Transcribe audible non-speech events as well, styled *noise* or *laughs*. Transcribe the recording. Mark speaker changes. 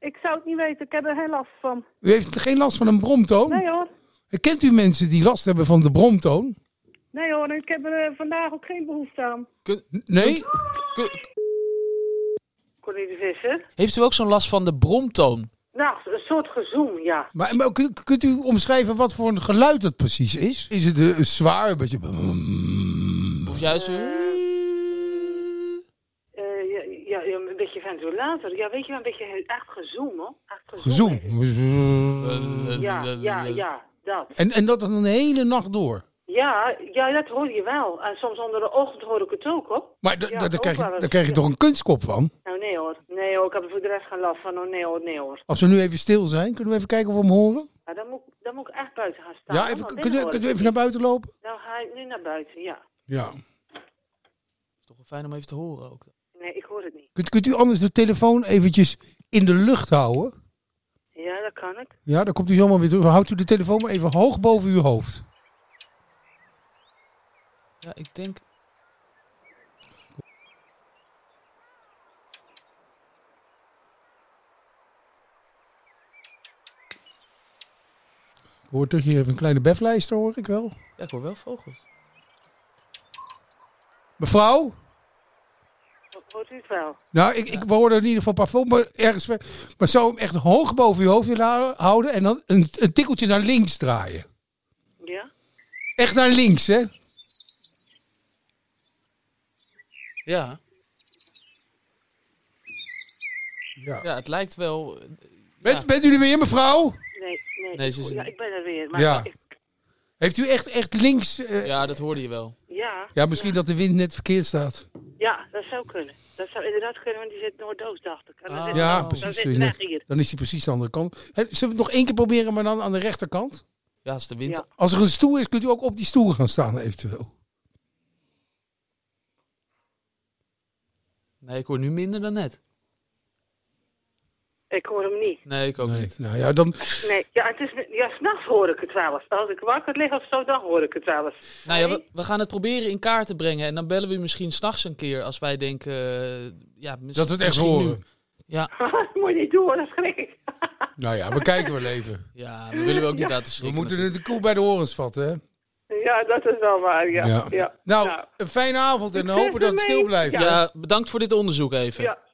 Speaker 1: Ik zou het niet weten, ik heb er geen last van.
Speaker 2: U heeft geen last van een bromtoon?
Speaker 1: Nee hoor,
Speaker 2: Kent u mensen die last hebben van de bromtoon?
Speaker 1: nee hoor, ik heb er eh, vandaag ook geen behoefte aan.
Speaker 2: N- Nee?
Speaker 3: Ku-
Speaker 4: Corrie de Visser.
Speaker 3: Heeft u ook zo'n last van de bromtoon?
Speaker 4: Nou, een soort gezoem, ja.
Speaker 2: Maar, maar kun- kunt u omschrijven wat voor een geluid het precies is? Is het eh, zwaar, een beetje...
Speaker 3: Of juist u?
Speaker 4: Eh, ja, ja, ja, een beetje ventilator. Ja, weet je wel, een beetje echt gezoem, hoor. Echt
Speaker 2: Gezoem.
Speaker 4: Ja, ja, ja, dat.
Speaker 2: En, en dat dan een hele nacht door.
Speaker 4: Ja, ja, dat hoor je wel. En soms onder de ochtend hoor ik het ook, hoor.
Speaker 2: Maar da-
Speaker 4: Ja,
Speaker 2: da- daar
Speaker 4: ook
Speaker 2: krijg, je,
Speaker 4: wel eens,
Speaker 2: daar krijg je
Speaker 4: ja.
Speaker 2: toch een kunstkop van?
Speaker 4: Nou, nee hoor. Nee hoor, ik heb er voor de rest geen last van. Oh, nee hoor, nee hoor.
Speaker 2: Als we nu even stil zijn, kunnen we even kijken of we hem horen?
Speaker 4: Maar dan moet, dan moet ik echt buiten gaan staan.
Speaker 2: Ja,
Speaker 4: hoor,
Speaker 2: even,
Speaker 4: want
Speaker 2: kunt,
Speaker 4: binnen
Speaker 2: u,
Speaker 4: hoor
Speaker 2: kunt u
Speaker 4: ik
Speaker 2: even
Speaker 4: het
Speaker 2: naar
Speaker 4: niet.
Speaker 2: buiten lopen?
Speaker 4: Nou ga ik nu naar buiten, ja.
Speaker 2: Ja.
Speaker 3: Toch wel fijn om even te horen ook.
Speaker 4: Nee, ik hoor het niet.
Speaker 2: Kunt, kunt u anders de telefoon eventjes in de lucht houden?
Speaker 4: Ja, dat kan ik.
Speaker 2: Ja, dan komt u zomaar weer terug. Houdt u de telefoon maar even hoog boven uw hoofd.
Speaker 3: Ja, ik denk...
Speaker 2: Ik hoor toch hier even een kleine beflijster, hoor ik wel.
Speaker 3: Ja, ik hoor wel vogels.
Speaker 2: Mevrouw?
Speaker 4: Ho- Hoort u het wel?
Speaker 2: Nou, ik, ik hoorde in ieder geval parfum, maar ergens... ver- Maar zou hem echt hoog boven uw hoofd willen hou- houden en dan een, een tikkeltje naar links draaien.
Speaker 4: Ja?
Speaker 2: Echt naar links, hè?
Speaker 3: Ja,
Speaker 2: Ja.
Speaker 3: ja het lijkt wel...
Speaker 2: Bent, bent u er weer, mevrouw?
Speaker 4: Nee, nee.
Speaker 3: Nee,
Speaker 4: ik
Speaker 3: ze
Speaker 4: hoor-
Speaker 3: is-
Speaker 4: ja, ik ben er weer. Maar
Speaker 2: Ja.
Speaker 4: ik-
Speaker 2: Heeft u echt, echt links... eh,
Speaker 3: Ja, dat hoorde je wel.
Speaker 4: ja,
Speaker 2: Ja, misschien dat de wind net verkeerd staat.
Speaker 4: ja, dat zou kunnen. Dat zou inderdaad kunnen, want die zit noordoost, dacht ik. En Oh, dan
Speaker 3: Ah.
Speaker 4: zit-
Speaker 2: ja,
Speaker 3: dan
Speaker 2: precies.
Speaker 4: zit
Speaker 2: zul je
Speaker 4: weg
Speaker 2: net-
Speaker 4: hier.
Speaker 2: Dan is hij precies de andere kant. Hè, Zullen we het nog één keer proberen, maar dan aan de rechterkant?
Speaker 3: Ja, als de wind...
Speaker 4: Ja.
Speaker 2: Als er een stoel is, kunt u ook op die stoel gaan staan, eventueel.
Speaker 3: Nee, ik hoor nu minder dan net.
Speaker 4: Ik hoor hem niet.
Speaker 3: Nee, ik ook
Speaker 2: Nee.
Speaker 3: niet.
Speaker 2: Nou ja, dan,
Speaker 4: Nee, ja, het is, ja, s'nachts hoor ik het wel eens. Als ik wakker lig of zo, dan hoor ik het wel eens. *laughs*
Speaker 3: Nou ja, we, we gaan het proberen in kaart te brengen. En dan bellen we u misschien s'nachts een keer als wij denken... eh, ja, misschien,
Speaker 2: dat we het echt
Speaker 3: misschien nu.
Speaker 2: horen.
Speaker 3: Ja.
Speaker 4: dat moet je niet doen, hoor, dan schrik ik.
Speaker 2: Nou ja, we kijken wel *laughs* even.
Speaker 3: ja, we willen we ook niet laten
Speaker 2: We
Speaker 3: schrikken.
Speaker 2: moeten het de koe bij de horens vatten, hè?
Speaker 4: Ja, dat is wel waar, ja. ja.
Speaker 2: Nou, een fijne avond en
Speaker 4: Succes
Speaker 2: hopen dat het stil
Speaker 4: ermee.
Speaker 2: blijft.
Speaker 3: natuurlijk. Ja, bedankt voor dit onderzoek even.
Speaker 4: Ja,